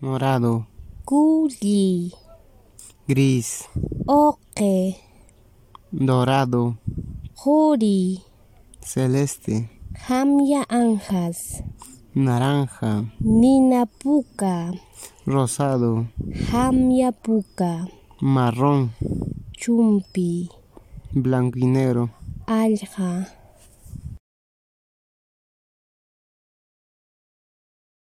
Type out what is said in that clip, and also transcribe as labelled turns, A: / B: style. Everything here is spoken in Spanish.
A: morado,
B: Guli.
A: gris,
B: Oke.
A: dorado,
B: Juri.
A: celeste,
B: Hamya Anjas.
A: naranja,
B: Nina Puka.
A: rosado,
B: Hamya Puka.
A: marrón,
B: Chumpi.
A: blanco y negro,
B: Alja.